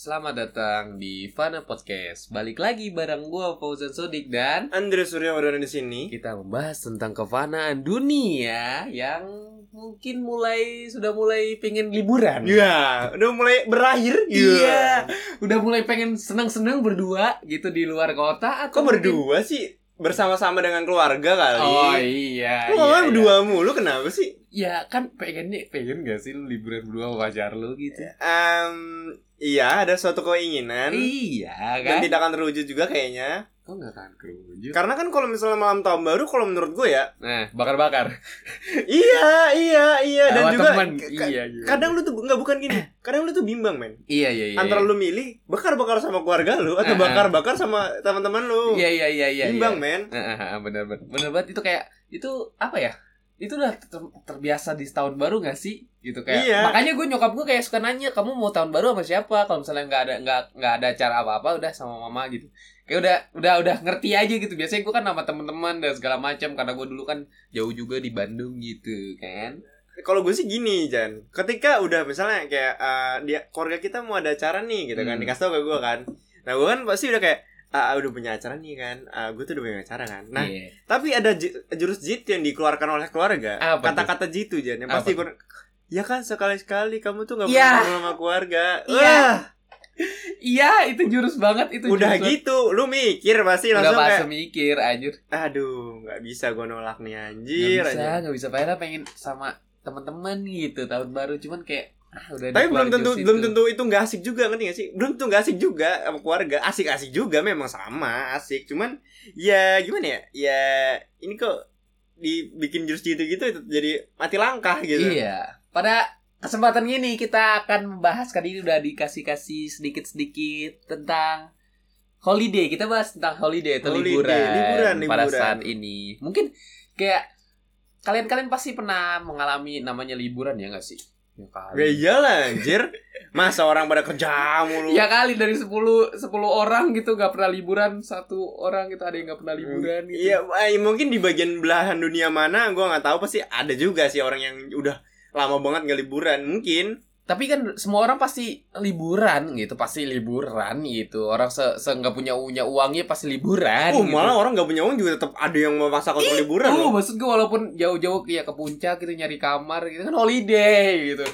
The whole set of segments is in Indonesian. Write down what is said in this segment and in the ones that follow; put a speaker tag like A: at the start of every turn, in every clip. A: Selamat datang di Fana Podcast. Balik lagi bareng gua Fauzan Sodik dan
B: Andre Surya Wardana di sini.
A: kita membahas tentang kefanaan dunia yang mungkin mulai sudah mulai pengen liburan.
B: Iya, udah mulai berakhir.
A: Iya. Udah mulai pengen senang-senang berdua gitu di luar kota atau
B: Kok
A: mungkin-
B: berdua sih? Bersama-sama dengan keluarga kali.
A: Oh iya. iya,
B: Lu ngomongnya
A: iya.
B: berdua mulu kenapa sih?
A: Ya kan pengen nih, pengen gak sih lu liburan berdua sama pacar lu gitu?
B: Em, iya, ada suatu keinginan
A: Iya
B: dan
A: kan?
B: tidak akan terwujud juga kayaknya.
A: Kok gak akan kerunjuk?
B: Karena kan kalau misalnya malam tahun baru kalau menurut gue ya,
A: Nah, bakar-bakar.
B: iya, iya, iya dan
A: Sama
B: juga
A: teman.
B: ka-
A: Iya, iya.
B: kadang lu tuh nggak bukan gini. Kadang lu tuh bimbang, men.
A: Iya, iya, iya.
B: Antara lu milih bakar-bakar sama keluarga lu
A: Ah,
B: atau
A: ah.
B: bakar-bakar sama teman-teman lu.
A: Iya, iya, iya, iya. iya.
B: Bimbang, men.
A: Heeh, benar benar. Benar banget itu kayak itu apa ya? Itu udah ter- terbiasa di tahun baru gak sih? Gitu kayak.
B: Iya.
A: Makanya gue nyokap gue kayak suka nanya, "Kamu mau tahun baru sama siapa?" Kalau misalnya nggak ada nggak nggak ada acara apa-apa udah sama mama gitu. Kayak udah udah udah ngerti aja gitu. Biasanya gue kan sama teman-teman dan segala macam karena gue dulu kan jauh juga di Bandung gitu kan.
B: kalau gue sih gini Jan ketika udah misalnya kayak eh, dia keluarga kita mau ada acara nih gitu kan
A: Hmm.
B: dikasih tau ke gue kan nah gue kan pasti udah kayak ah udah punya acara nih kan ah gue tuh udah punya acara kan nah
A: Iya.
B: tapi ada ju- jurus jitu yang dikeluarkan oleh keluarga
A: Apa tuh?
B: kata-kata jitu Jan yang
A: Apa
B: pasti
A: tuh?
B: gue ya kan sekali-sekali kamu tuh nggak
A: Iya.
B: pernah ngobrol sama keluarga
A: Iya,
B: Wah,
A: Iya, itu jurus banget itu.
B: udah
A: jurus
B: gitu lu mikir pasti
A: banget. Udah
B: langsung
A: pas
B: kayak
A: mikir anjir.
B: aduh nggak bisa gue nolak nih anjir,
A: Gak bisa,
B: anjir.
A: gak bisa. Padahal pengen sama teman-teman gitu tahun baru, cuman kayak ah, udah. di
B: Tapi belum
A: keluarga
B: tentu
A: situ.
B: belum tentu itu nggak asik juga ngerti gak sih? Belum tentu nggak asik juga sama keluarga. Asik-asik juga memang sama asik. Cuman ya gimana ya? Ya ini kok dibikin jurus gitu gitu itu jadi mati langkah gitu.
A: Iya. Pada kesempatan ini kita akan membahas kali ini udah dikasih-kasih sedikit-sedikit tentang holiday. Kita bahas tentang holiday atau
B: Holiday,
A: liburan,
B: liburan,
A: pada
B: liburan.
A: saat ini. Mungkin kayak kalian-kalian pasti pernah mengalami namanya liburan ya gak sih? Ya kali.
B: Gak iyalah anjir. Masa orang pada kerja mulu.
A: Ya kali dari 10 10 orang gitu gak pernah liburan, satu orang gitu ada yang gak pernah liburan gitu.
B: Iya, eh, mungkin di bagian belahan dunia mana gua nggak tahu pasti ada juga sih orang yang udah lama banget nggak liburan mungkin
A: tapi kan semua orang pasti liburan gitu pasti liburan gitu orang se se nggak punya punya uangnya pasti liburan
B: oh
A: gitu.
B: malah orang nggak punya uang juga tetap ada yang memaksakan untuk liburan
A: Tuh,
B: loh
A: maksud gue walaupun jauh-jauh ya ke puncak gitu nyari kamar gitu kan holiday gitu.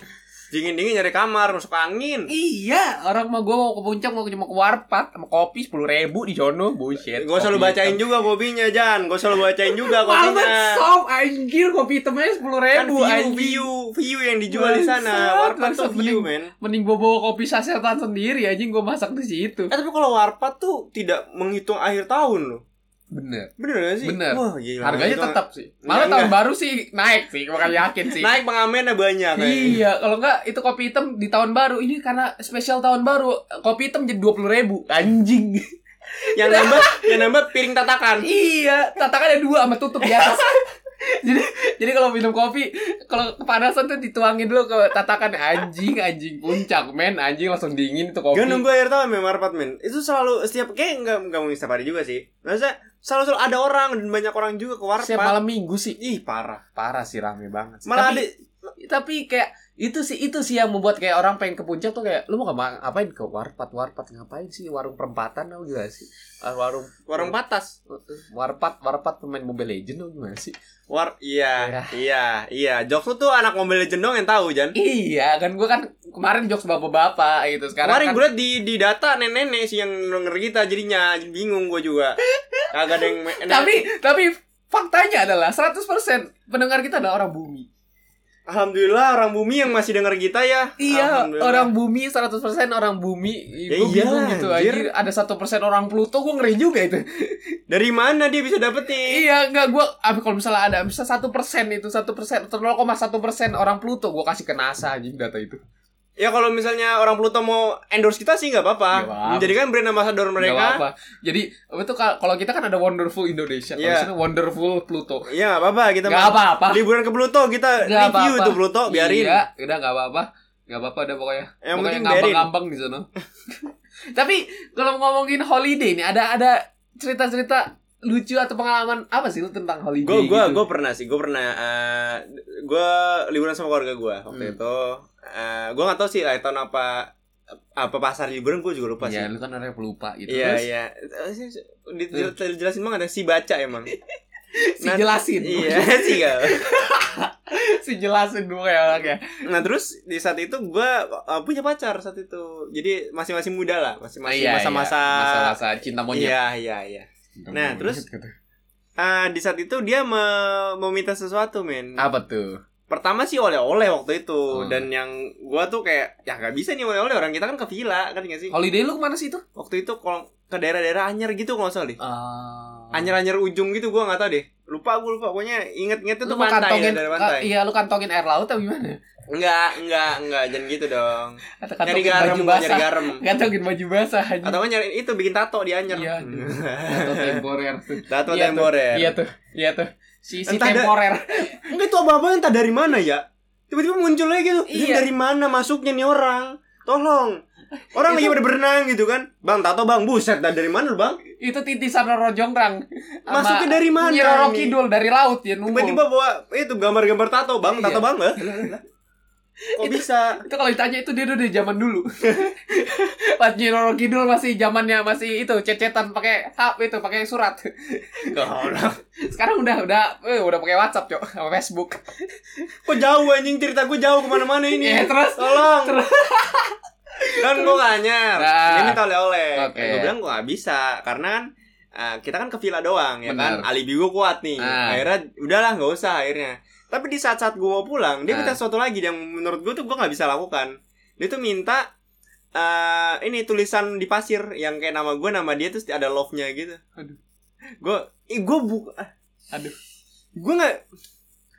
B: dingin dingin nyari kamar masuk angin
A: Iya, orang mah gue mau ke puncak mau cuma ke warpat sama kopi sepuluh ribu di sono bullshit.
B: Gak usah lu
A: Kopi
B: bacain juga kopinya Jan Gak usah lu bacain juga
A: hitam. Mahal banget,
B: kopinya
A: sob anjir kopi hitamnya sepuluh
B: Kan
A: ribu
B: view,
A: anjing.
B: view, view yang dijual di
A: Bangsat,
B: sana Warpat
A: bangsat,
B: tuh view
A: mending-
B: men
A: Mending gue bawa kopi sasetan sendiri anjing gue masak di situ.
B: Eh tapi kalau Warpat tuh tidak menghitung akhir tahun loh
A: Bener.
B: Bener gak sih?
A: Bener.
B: Wah gila
A: Harganya
B: menghitung-
A: tetap sih.
B: Enggak,
A: Malah tahun
B: enggak.
A: baru sih naik sih, gue yakin sih.
B: Naik pengamennya banyak kayaknya.
A: Iya, kalau enggak itu kopi hitam di tahun baru. Ini karena spesial tahun baru, kopi hitam jadi dua puluh ribu. Anjing.
B: Yang nambah yang nambah piring tatakan
A: iya, tatakan ada dua sama tutup di atas. jadi jadi kalau minum kopi, kalau kepanasan tuh dituangin dulu ke tatakan anjing, anjing puncak men, anjing langsung dingin itu kopi.
B: Gak nunggu akhir tahun memang Warpat men Itu selalu setiap Kayak gak, nggak mungkin setiap hari juga sih Maksudnya selalu, selalu ada orang Dan banyak orang juga ke Warpat
A: Setiap malam minggu sih
B: Ih parah
A: parah sih rame banget. sih.
B: Malah
A: tapi,
B: ada
A: tapi kayak itu sih itu sih yang membuat kayak orang pengen ke puncak tuh kayak lu mau kemana ngapain ke warpat warpat ngapain sih warung perempatan atau gimana sih Ah, warung
B: warung patas
A: Warpat, warpat pemain Mobile Legend dong gimana sih?
B: War
A: Ya.
B: iya, iya, iya. Jokes lu tuh anak Mobile Legends dong yang tahu, Jan.
A: Iya, kan gue kan kemarin jokes bapak-bapak gitu. Sekarang
B: Kemarin
A: kan
B: gue liat di di data nenek-nenek sih yang denger kita jadinya bingung gue juga. Kagak ada yang me- nah,
A: tapi tapi faktanya adalah 100% pendengar kita adalah orang bumi.
B: alhamdulillah orang bumi yang masih denger kita ya.
A: Iya,
B: Alhamdulillah.
A: orang bumi 100% orang bumi.
B: Ya
A: Gua bingung
B: iyalah,
A: gitu
B: anjir.
A: anjir. Ada 1% orang Pluto gue ngeri juga itu.
B: dari mana dia bisa dapet nih?
A: iya, enggak gua apa kalau misalnya ada bisa 1% itu 1% atau 0,1% orang Pluto gue kasih ke NASA anjing data itu.
B: Ya kalau misalnya orang Pluto mau endorse kita sih nggak apa-apa.
A: Nggak apa-apa.
B: Menjadikan brand ambassador
A: Mereka
B: mereka.
A: apa. Jadi, apa tuh kalau kalau kita kan ada Wonderful Indonesia, kalau
B: Iya.
A: di sini Wonderful Pluto.
B: Iya nggak apa-apa kita
A: Gak
B: mau-
A: apa-apa.
B: liburan ke Pluto kita
A: Nggak
B: review
A: apa-apa.
B: tuh Pluto biarin.
A: Iya, udah gak apa-apa. Gak apa-apa udah pokoknya.
B: Yang
A: pokoknya
B: penting biarin.
A: ngambang-ngambang di sana. Tapi kalau ngomongin holiday nih, ada ada cerita-cerita lucu atau pengalaman apa sih lu tentang holiday
B: gue gue
A: gitu?
B: gue pernah sih gue pernah eh, gue liburan sama keluarga gue waktu
A: Hmm.
B: itu Eh, gue nggak tahu sih akhir tahun apa apa pasar liburan gue juga lupa
A: ya
B: sih
A: lu kan orangnya pelupa gitu
B: iya
A: Terus, Hmm.
B: iya Dijelasin jelasin banget ya si baca emang
A: si jelasin
B: iya sih gak
A: si jelasin dulu kayak ya. orangnya
B: Nah terus di saat itu gue punya pacar saat itu Jadi masih-masih muda lah Masih masih
A: Iya, iya.
B: masa-masa
A: masa-masa cinta monyet
B: Iya iya iya
A: Cinta
B: Nah,
A: monyet,
B: terus-
A: gitu.
B: Ah, Di saat itu dia me- meminta sesuatu men
A: apa tuh
B: Pertama sih oleh-oleh waktu itu
A: Hmm.
B: Dan yang gue tuh kayak Ya gak bisa nih oleh-oleh orang kita kan ke villa kan gak sih
A: holiday lu kemana sih itu
B: Waktu itu kalau ke daerah-daerah Anyer gitu kalau nggak salah deh
A: Ah.
B: Anyer-anyer ujung gitu gue gak tahu deh Lupa gue lupa Pokoknya inget-ingetnya
A: lu
B: tuh
A: mau
B: pantai ya,
A: kantongin
B: dari
A: ah,
B: pantai
A: iya lu kantongin air laut atau gimana
B: Enggak, enggak, enggak Jangan gitu dong
A: atau
B: Nyari
A: kantongin
B: garam,
A: baju
B: gua
A: basah
B: nyari garam
A: kantongin baju basah aja
B: Atau nggak nyariin itu bikin tato di Anyer. Hmm.
A: Iya. atau temporer tuh
B: tato
A: Iya tuh,
B: temporer.
A: iya tuh iya tuh si si
B: Entah ada-
A: temporer
B: Enggak itu apa-apa entah dari mana ya. Tiba-tiba muncul lagi gitu. Ini
A: Iya.
B: dari mana masuknya nih orang? Tolong. Orang lagi
A: Itu-
B: pada berenang gitu kan. Bang, tato Bang, buset dah dari mana lu, Bang?
A: itu titisan Roro Jonggrang Sama
B: Masuknya dari mana
A: Nyi Roro
B: ini?
A: Kidul dari laut ya numpul
B: Tiba-tiba bawa itu gambar-gambar tato, Bang, tato
A: Iya.
B: Bang. Lah, lah, lah. Kok bisa?
A: itu kalau ditanya itu dia udah dari zaman dulu pas Nyi Roro Kidul masih zamannya masih itu cecetan pakai hap itu pakai surat
B: Gak
A: sekarang udah udah eh, udah pakai WhatsApp cok sama Facebook
B: Kok jauh anjing cerita gue jauh kemana-mana ini.
A: Iya, terus
B: Tolong.
A: Terus.
B: kan gue gak anyar.
A: Nah.
B: Dia minta oleh-oleh.
A: Oke.
B: Gue bilang gue gak bisa karena kan ah, kita kan ke villa doang ya
A: Benar.
B: kan. Alibi gue kuat nih.
A: Ah.
B: Akhirnya udahlah nggak usah akhirnya. Tapi di saat-saat gue mau pulang, dia
A: Ah.
B: minta sesuatu lagi yang menurut gue tuh gue nggak bisa lakukan. Dia tuh minta eh ini tulisan di pasir yang kayak nama gue nama dia terus ada love nya gitu.
A: Aduh.
B: Gue, eh, gue buka,
A: aduh
B: gue nggak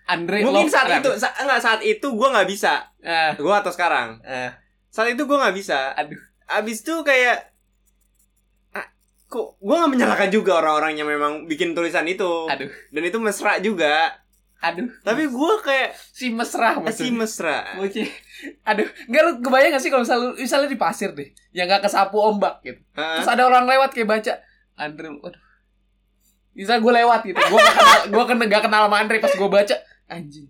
A: Andre
B: mungkin
A: Love
B: saat
A: Kran.
B: itu sa- enggak saat itu gue nggak bisa
A: Ah,
B: gue atau sekarang
A: ah.
B: saat itu gue nggak bisa
A: Aduh.
B: abis itu kayak ah, kok gue nggak menyalahkan juga orang-orang yang memang bikin tulisan itu
A: aduh
B: dan itu mesra juga
A: aduh
B: tapi gue kayak
A: si mesra
B: si
A: maksudnya
B: mesra
A: Bocil. Aduh, enggak lu kebayang gak sih kalau misalnya, lu- misalnya di pasir deh, yang gak kesapu ombak gitu.
B: Heeh.
A: Terus ada orang lewat kayak baca, Andre, waduh. Bisa gue lewat gitu, gue gak kenal, gue kena, gak kenal sama Andre pas gue baca, anjing.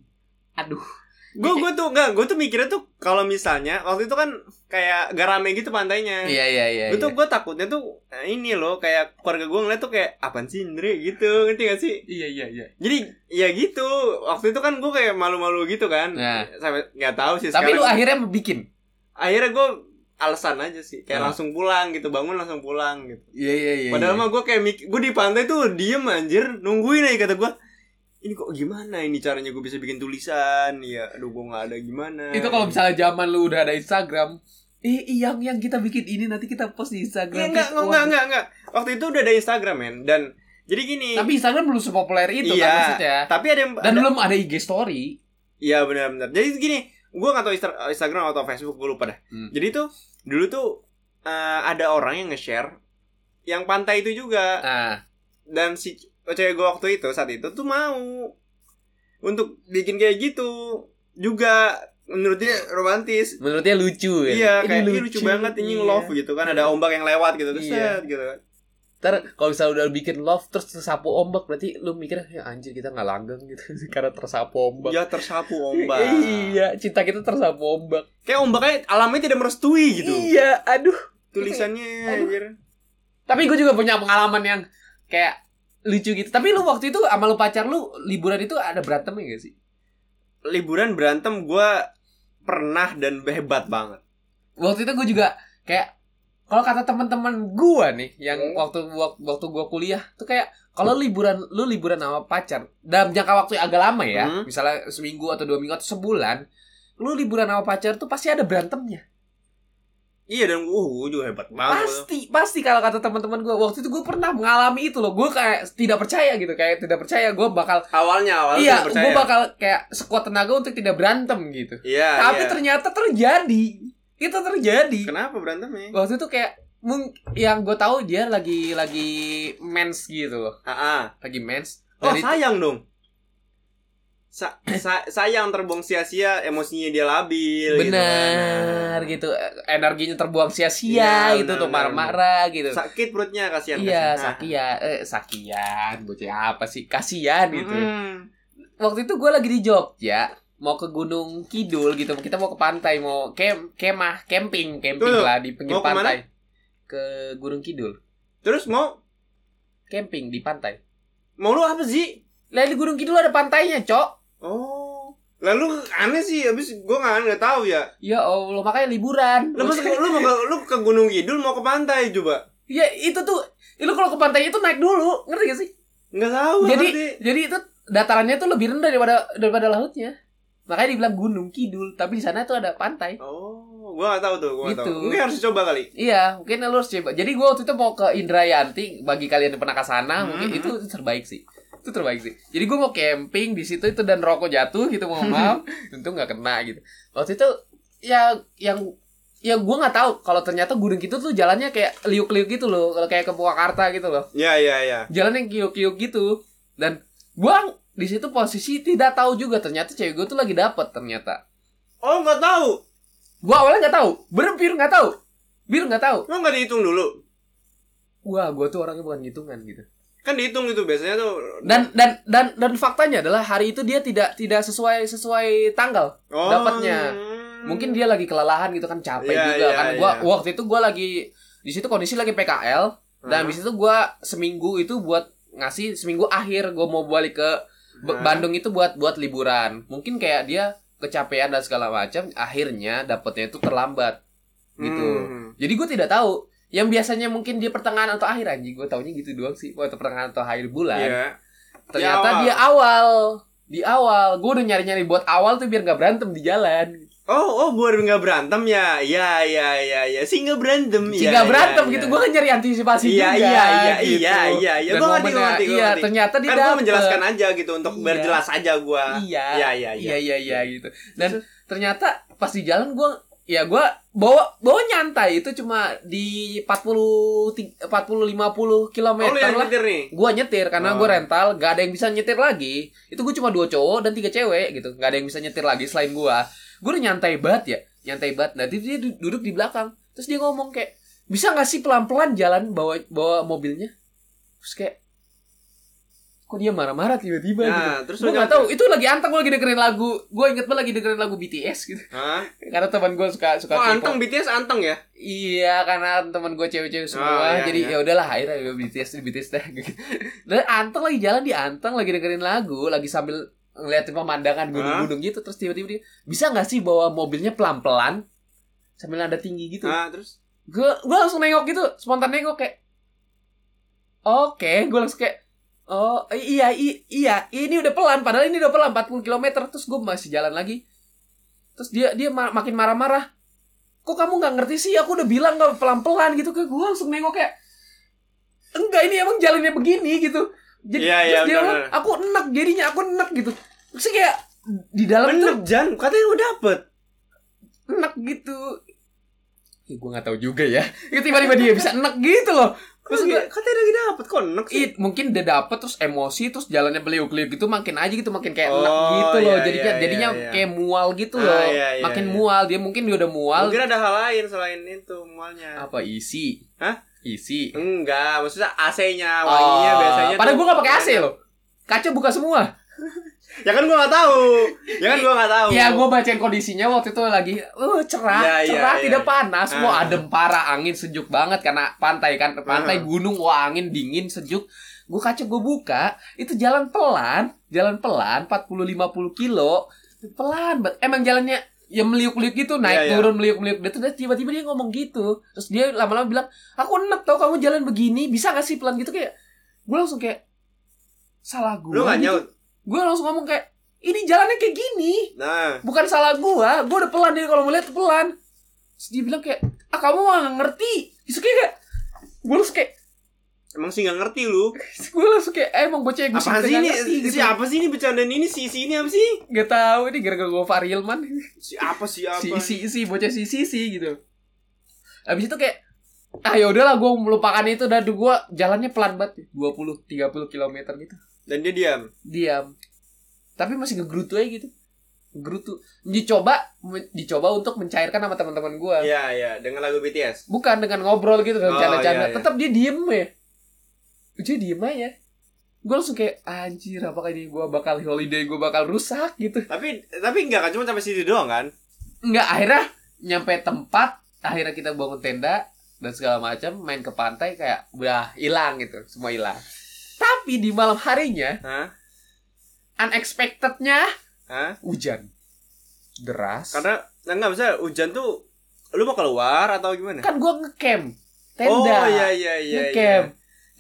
A: Aduh,
B: gue gue tuh nggak gue tuh mikirnya tuh kalau misalnya waktu itu kan kayak gak rame gitu pantainya
A: iya iya iya.
B: Gue tuh gue takutnya tuh eh, ini loh kayak keluarga gue ngeliat tuh kayak apaan sih Indri gitu ngerti gak sih
A: iya iya iya.
B: jadi ya gitu waktu itu kan gue kayak malu-malu gitu kan
A: Nah.
B: sampai nggak tahu sih
A: Tapi lu
B: sekarang.
A: akhirnya bikin.
B: akhirnya gue alasan aja sih kayak
A: Nah.
B: langsung pulang gitu bangun langsung pulang gitu
A: Iya iya iya.
B: padahal mah gue kayak mik- gue di pantai tuh diem anjir nungguin aja kata gue ini kok gimana ini caranya gue bisa bikin tulisan ya aduh gue nggak ada gimana
A: itu kalau misalnya zaman lu udah ada Instagram, eh yang yang kita bikin ini nanti kita post di
B: Nggak,
A: Instagram.
B: Iya,
A: Gitu.
B: nggak
A: Terus,
B: nggak
A: wah.
B: nggak nggak nggak. waktu itu udah ada Instagram men dan jadi gini
A: Tapi Instagram belum sepopuler itu
B: Iya.
A: kan maksudnya.
B: tapi ada yang
A: Dan
B: ada-
A: belum ada IG story.
B: Iya benar-benar. Jadi gini, gue nggak tahu Insta- Instagram atau Facebook gue lupa dah.
A: Hmm.
B: Jadi tuh dulu tuh eh, ada orang yang nge-share yang pantai itu juga
A: Nah,
B: dan si cewek gue waktu itu saat itu tuh mau untuk bikin kayak gitu juga menurut dia romantis.
A: menurutnya lucu ya.
B: Iya,
A: Ini
B: kayak ini lucu banget ini
A: iya.
B: love gitu kan ada ombak yang lewat gitu terus
A: Iya.
B: set, gitu.
A: Ntar kalau misalnya udah bikin love terus tersapu ombak berarti lu mikir ya anjir kita nggak langgeng gitu karena tersapu ombak.
B: Ya tersapu ombak.
A: Iya, cinta kita tersapu ombak.
B: Kayak ombaknya alamnya tidak merestui gitu.
A: Iya, aduh.
B: Tulisannya
A: Aduh.
B: anjir.
A: Tapi gue juga punya pengalaman yang kayak lucu gitu. Tapi lu waktu itu sama lu pacar lu liburan itu ada berantem ya gak sih?
B: liburan berantem gue pernah dan hebat banget.
A: Waktu itu gue juga kayak kalau kata teman-teman gue nih yang
B: Hmm.
A: waktu wak- waktu gue kuliah tuh kayak kalau liburan lu liburan sama pacar dalam jangka waktu yang agak lama ya,
B: Hmm.
A: misalnya seminggu atau dua minggu atau sebulan, lu liburan sama pacar tuh pasti ada berantemnya.
B: Iya dan uh gua juga hebat banget.
A: pasti pasti kalau kata teman-teman gue waktu itu gue pernah mengalami itu loh gue kayak tidak percaya gitu kayak tidak percaya gue bakal
B: Awalnya awalnya
A: iya
B: tidak
A: gue bakal kayak sekuat tenaga untuk tidak berantem gitu
B: Iya.
A: tapi
B: iya.
A: ternyata terjadi itu terjadi
B: kenapa berantemnya?
A: waktu itu kayak mung- yang gue tahu dia lagi lagi mens gitu loh
B: Ah, ah.
A: lagi mens
B: Oh
A: Dan itu-
B: sayang dong. Sa- sa- sayang terbuang sia-sia emosinya dia labil. gitu kan.
A: benar gitu, energinya terbuang sia-sia
B: nah. Iya,
A: gitu
B: benar,
A: tuh
B: benar, nah.
A: marah-marah gitu
B: Kan. Sakit perutnya kasihan.
A: iya
B: kasihan.
A: sakian eh sakian bocah apa sih kasian
B: Ah.
A: gitu
B: Mm-mm.
A: waktu itu gue lagi di Jogja mau ke Gunung Kidul gitu kita mau ke pantai mau kem kemah camping camping
B: Tuh,
A: lah di pinggir
B: mau kemana?
A: pantai ke Gunung Kidul
B: Terus mau
A: camping di pantai
B: mau lu apa sih?
A: lah di Gunung Kidul ada pantainya cok
B: Oh. Lalu aneh sih, abis gue nggak nggak tahu ya.
A: ya Allah makanya liburan
B: Lu, maksud- lu mau ke, lu ke Gunung Kidul mau ke pantai coba?
A: ya itu tuh lu kalau ke pantai itu naik dulu ngerti gak sih
B: Nggak tahu. nggak
A: jadi
B: Oh, ngerti.
A: jadi itu datarannya tuh lebih rendah daripada daripada lautnya makanya dibilang Gunung Kidul tapi di sana tuh ada pantai
B: Oh, gue nggak tahu tuh, gue nggak
A: Gitu.
B: tahu. Mungkin harus coba kali.
A: Iya, mungkin lu harus coba. Jadi gua waktu itu mau ke Indrayanti, bagi kalian yang pernah ke sana, mungkin
B: Mhm.
A: itu itu terbaik sih. Itu terbaik sih. Jadi gua mau camping di situ itu dan rokok jatuh gitu, mohon maaf. Untung nggak kena gitu. Waktu itu ya yang ya gua nggak tahu kalau ternyata gunung itu tuh jalannya kayak liuk-liuk gitu loh, kalau kayak ke Purwakarta gitu loh.
B: Ya, ya, ya.
A: Jalan yang kiuk-kiuk gitu. Dan gua di situ posisi tidak tahu juga ternyata cewek gua tuh lagi dapet ternyata.
B: Oh, nggak tahu.
A: Gua awalnya nggak tahu, berpikir nggak tahu. Bir nggak tahu.
B: Lo nggak dihitung dulu?
A: Wah, gua tuh orangnya bukan hitungan gitu.
B: Kan dihitung itu biasanya tuh.
A: dan dan dan dan faktanya adalah hari itu dia tidak tidak sesuai sesuai tanggal
B: Oh.
A: dapatnya. mungkin dia lagi kelelahan gitu kan capek
B: Hmm. Iya,
A: juga
B: iya,
A: kan gua
B: iya.
A: waktu itu gua lagi di situ kondisi lagi PKL dan
B: Hah?
A: habis itu gua seminggu itu buat ngasih seminggu akhir gua mau balik ke B-
B: Hah?
A: Bandung itu buat buat liburan mungkin kayak dia kecapean dan segala macam akhirnya dapatnya itu terlambat gitu
B: Hmm.
A: jadi gue tidak tahu yang biasanya mungkin dia pertengahan atau akhir anjing gue taunya gitu doang sih atau pertengahan atau akhir bulan
B: Iya.
A: Ternyata
B: Di awal.
A: dia awal. Di awal. Gue udah nyari-nyari buat awal tuh biar nggak berantem di jalan.
B: Oh, oh, buat nggak berantem ya? Ya, ya, ya, ya. Sih nggak berantem. ya,
A: Sehingga
B: ya,
A: berantem
B: ya.
A: gitu. Gue kan nyari antisipasi
B: Iya,
A: juga.
B: iya, iya,
A: gitu.
B: iya, iya, iya.
A: Dan
B: Gua ngerti, gua
A: momennya-
B: ngerti, gua
A: Iya,
B: ngerti.
A: ternyata dia
B: Kan gue
A: dapet.
B: menjelaskan aja gitu untuk
A: Iya.
B: berjelas aja gue.
A: Iya.
B: Ya, ya, ya.
A: Iya, iya, iya gitu. Dan ternyata pas di jalan gue ya gue bawa bawa nyantai itu cuma di 40 40 50 km
B: Oh, lu yang
A: lah.
B: nyetir nih.
A: Gua nyetir karena
B: Oh.
A: gua rental gak ada yang bisa nyetir lagi itu gue cuma dua cowok dan tiga cewek gitu gak ada yang bisa nyetir lagi selain gua gue udah nyantai banget ya nyantai banget nah dia- dia du- duduk di belakang terus dia ngomong kayak bisa gak sih pelan pelan jalan bawa bawa mobilnya terus kayak kok dia marah marah tiba tiba gitu
B: Nah, terus
A: Terus gue gak
B: nyetir.
A: tau, itu lagi anteng, gue lagi dengerin lagu Gue inget banget lagi dengerin lagu BTS gitu
B: Hah?
A: Karena teman gue suka suka
B: Oh,
A: K-pop.
B: anteng BTS anteng ya?
A: Iya, karena teman gue cewek-cewek semua,
B: Oh, iya,
A: jadi
B: iya.
A: ya udahlah akhirnya gue BTS, BTS dah. Dan anteng lagi jalan di anteng, lagi dengerin lagu, lagi sambil ngeliatin pemandangan gunung-gunung gitu, terus tiba-tiba dia bisa nggak sih bawa mobilnya pelan-pelan sambil nada tinggi gitu?
B: Nah, terus
A: Gue gue langsung nengok gitu, spontan nengok kayak, oke, gue langsung kayak, oh i- iya i- iya ini udah pelan, padahal ini udah pelan 40 km, terus gue masih jalan lagi, terus dia dia ma- makin marah-marah kok kamu nggak ngerti sih aku udah bilang nggak pelan-pelan gitu ke gue langsung nengok kayak enggak ini emang jalannya begini gitu jadi
B: Iya, iya,
A: terus dia
B: benar,
A: bilang,
B: benar.
A: aku enak jadinya aku enak gitu terus kayak di dalam tuh
B: bener Jan, katanya udah dapet.
A: enak gitu ya, gue nggak tahu juga ya Ya, tiba-tiba dia bisa enak gitu loh
B: Terus
A: terus gue
B: katanya lagi dapet kok enak sih.
A: It, mungkin dia dapet terus emosi terus jalannya beliuk-beliuk gitu makin aja gitu makin kayak enak
B: Oh,
A: gitu loh
B: iya,
A: jadinya
B: iya,
A: jadinya
B: iya, iya.
A: kayak mual gitu
B: Ah,
A: loh
B: iya, iya,
A: makin
B: iya.
A: mual dia mungkin dia udah mual
B: Mungkin ada hal lain selain itu mualnya.
A: apa isi
B: Hah?
A: isi
B: Enggak, maksudnya AC-nya, wanginya
A: Oh,
B: biasanya.
A: Padahal
B: tuh-
A: gue gak pakai AC loh. Kaca buka semua.
B: Ya kan gua nggak tahu. Ya kan gua nggak tahu.
A: Ya gue bacain kondisinya waktu itu lagi uh, cerah,
B: Ya, ya,
A: cerah
B: ya.
A: tidak panas,
B: Ah. Ah.
A: mau adem parah, angin sejuk banget karena pantai kan, pantai gunung, wah angin dingin sejuk. Gue kaca gue buka, itu jalan pelan, jalan pelan 40-50 kilo, pelan banget. Emang jalannya ya meliuk-liuk gitu, naik
B: Ya, ya.
A: turun meliuk-meliuk. Dia tuh dia tiba-tiba dia ngomong gitu. Terus dia lama-lama bilang, "Aku enak tau kamu jalan begini, bisa gak sih pelan gitu kayak." Gue langsung kayak salah gue.
B: Lu nggak
A: gitu.
B: nyaut.
A: gue langsung ngomong kayak ini jalannya kayak gini
B: Nah,
A: bukan salah gua gua udah pelan dia kalau melihat pelan Terus dia bilang kayak ah kamu mah nggak ngerti terus kayak gue langsung kayak
B: emang sih nggak ngerti lu.
A: gue langsung kayak eh, emang bocah gue
B: Apa sih ini? Si apa sih ini bercandaan ini? Si si ini apa sih?
A: Gak tau Gitu. ini gara-gara gue Farilman
B: Si apa si apa?
A: si si si bocah si si si gitu abis itu kayak ah ya udahlah gue melupakan itu dan gue jalannya pelan banget 20 30 km gitu
B: Dan dia diam.
A: diam tapi masih ngegerutu aja gitu gerutu dicoba dicoba untuk mencairkan sama teman-teman gua
B: Iya, iya, dengan lagu BTS.
A: bukan dengan ngobrol gitu dengan
B: Oh,
A: canda-canda
B: iya, iya.
A: tetap dia diem ya dia diem aja gue langsung kayak anjir apakah ini gue bakal holiday gue bakal rusak gitu
B: tapi tapi enggak kan cuma sampai situ doang kan
A: nggak akhirnya nyampe tempat akhirnya kita bangun tenda dan segala macam main ke pantai kayak udah hilang gitu semua hilang tapi di malam harinya
B: Hah?
A: unexpectednya
B: Hah?
A: hujan deras
B: karena nah, enggak misalnya hujan tuh lu mau keluar atau gimana
A: kan gue ngecamp tenda
B: oh iya iya iya
A: ngecamp